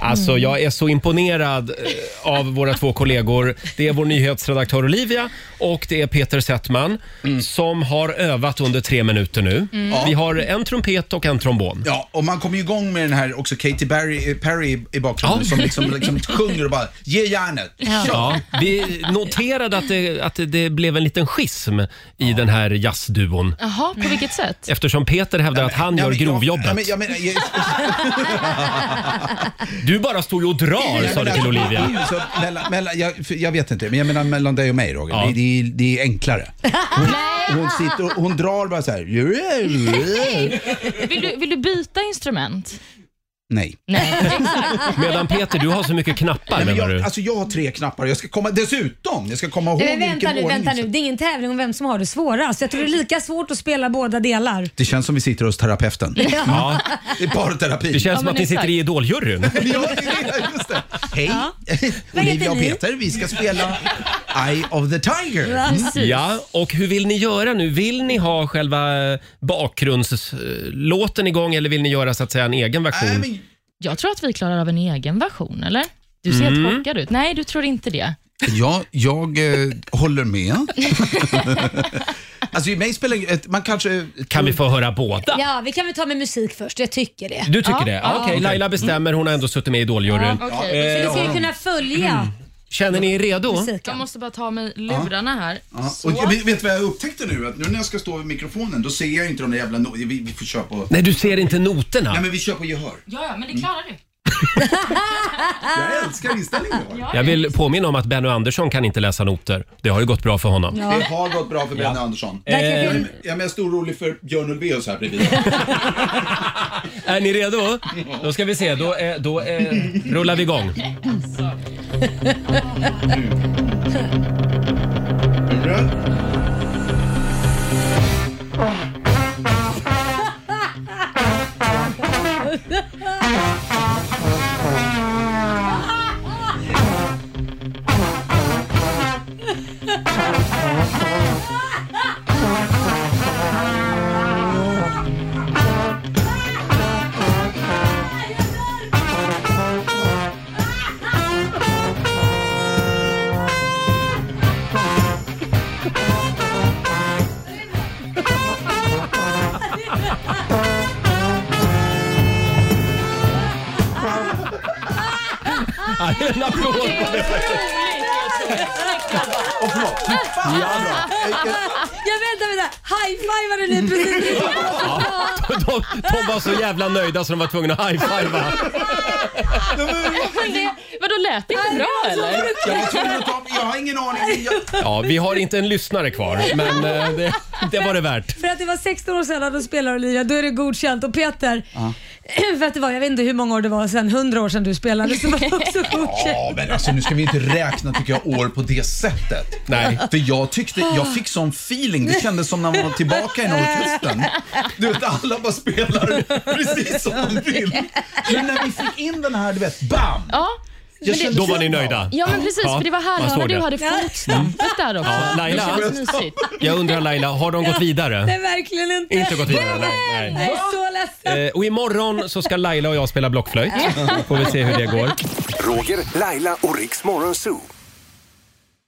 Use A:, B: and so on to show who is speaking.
A: Alltså, jag är så imponerad eh, av våra två kollegor. Det är vår nyhetsredaktör Olivia och det är Peter Settman
B: Mm.
A: som har övat under tre minuter nu. Vi har en trumpet och en trombon.
B: Ja, och man kommer ju igång med den här också Katy Perry, Perry i- i bakgrunden
A: Ja.
B: som liksom, liksom sjunger och bara ge järnet.
A: Ja, vi noterade att det, att det blev en liten schism i den här jazzduon.
C: Jaha, på vilket sätt?
A: Eftersom Peter hävdar att han gör
B: men jag- Ja, men,
A: grovjobbet.
B: jag menar, jag,
A: Du bara står ju och drar, sa du till Olivia.
B: Så, mellan, mellan, jag, för jag vet inte, men jag menar mellan dig och mig Roger.
A: Ja.
B: Det, det, är- det är enklare. Hon, hon, sitter och, hon drar bara så här.
C: Vill du, vill du byta instrument?
B: Nej.
C: Nej.
A: Medan Peter, du har så mycket knappar
B: Men
A: menar
B: jag,
A: du.
B: alltså jag har tre knappar jag ska komma, dessutom, jag ska komma ihåg
D: Men vänta
B: vilken
D: nu,
B: ordning.
D: vänta nu. Det är ingen tävling om vem som har det svårast. Jag tror det är lika svårt att spela båda delar.
B: Det känns som vi sitter hos terapeuten.
A: Ja,
B: Det är parterapi.
A: det känns
C: Ja,
A: som
C: men
A: att ni
C: exakt.
A: sitter i Idoljuryn.
B: Ja, det är det, just det. Hej, Olivia och
D: ni?
B: Peter. Vi ska spela Eye of the Tiger. Mm.
C: Precis.
A: Ja, och hur vill ni göra nu? Vill ni ha själva eh, bakgrundslåten igång eller vill ni göra så att säga en egen version?
B: Nej, men
C: Jag tror att vi klarar av en egen version, eller? Du ser helt
A: Mm.
C: chockad ut. Nej, du tror inte det.
B: Ja, jag eh, håller med. alltså, i mig spelar ju ett, man kanske...
A: Kan vi få höra båda?
D: Ja, vi kan väl ta med musik först. Jag tycker det.
A: Du tycker
C: Ja,
A: det?
C: ja.
A: Ja, Okej, Laila bestämmer. Hon har ändå suttit med i Idoljuryn.
C: Okej.
D: Så du
B: Eh,
D: ska ju kunna följa
A: Känner ni er redo?
D: musiken.
C: Jag måste bara ta mig lurarna här.
B: ja, och jag, vet vet du vad jag upptäckte nu? Att nu när jag ska stå vid mikrofonen, då ser jag inte de där jävla... No vi, vi får köra på... Nej.
A: Nej, du ser inte noterna.
B: men vi kör på gehör.
C: Ja, ja,
A: Mm.
C: men det klarar du.
B: Jag älskar inställningen vi har.
A: Jag vill påminna om att Benny Andersson kan inte läsa noter. Det har ju gått bra för honom.
B: Det har gått bra för Benny Andersson.
D: Där kanske
B: Jag
D: en-
B: är- Jag är stor orolig för Björn Ulvaeus här bredvid.
A: Är ni redo? Då ska vi se. Då, eh, då eh, rullar vi igång. Ja, det är En applåd på det.
B: Åh, förlåt. Fan, vad bra. Eh, eh,
D: Jag väntar, vänta. High-fivade ni precis?
A: De, de var så jävla nöjda så de var tvungna att high-fivea.
C: Men det, vadå, lät det inte bra eller?
B: Jag var tvungen att ta... Jag har ingen aning. Jag,
A: Ja, vi har inte en lyssnare kvar, men eh, det, det var det värt.
D: För att det var 16 år sedan du spelade Olivia, då är det godkänt. Och Peter, för att det var, jag vet inte hur många år det var sedan, 100 år sedan du spelade, så var det också godkänt.
B: Ja, men alltså nu ska vi inte räkna tycker jag år på det sättet.
A: Nej.
B: För jag tyckte, jag fick sån feeling. Det kändes som när man var tillbaka i orkestern. Du vet, alla bara spelar precis som de vill. Men när vi fick in den här, du vet, bam!
C: Ja.
B: Jag
C: Men det,
A: Då var ni nöjda.
C: ja, men precis.
A: Ja,
C: För det var
A: man
C: här
A: såg
C: när du
A: det.
C: hade fotstampet där också.
A: Ja, Laila.
C: Det känns mysigt.
A: Jag undrar Laila, har de gått vidare?
D: Nej, verkligen inte.
A: Inte gått vidare, nej, nej.
D: Jag är så ledsen.
A: Eh, Och imorgon så ska Laila och jag spela blockflöjt. Får vi se hur det går.
E: Roger, Laila och Riks Morgonzoo.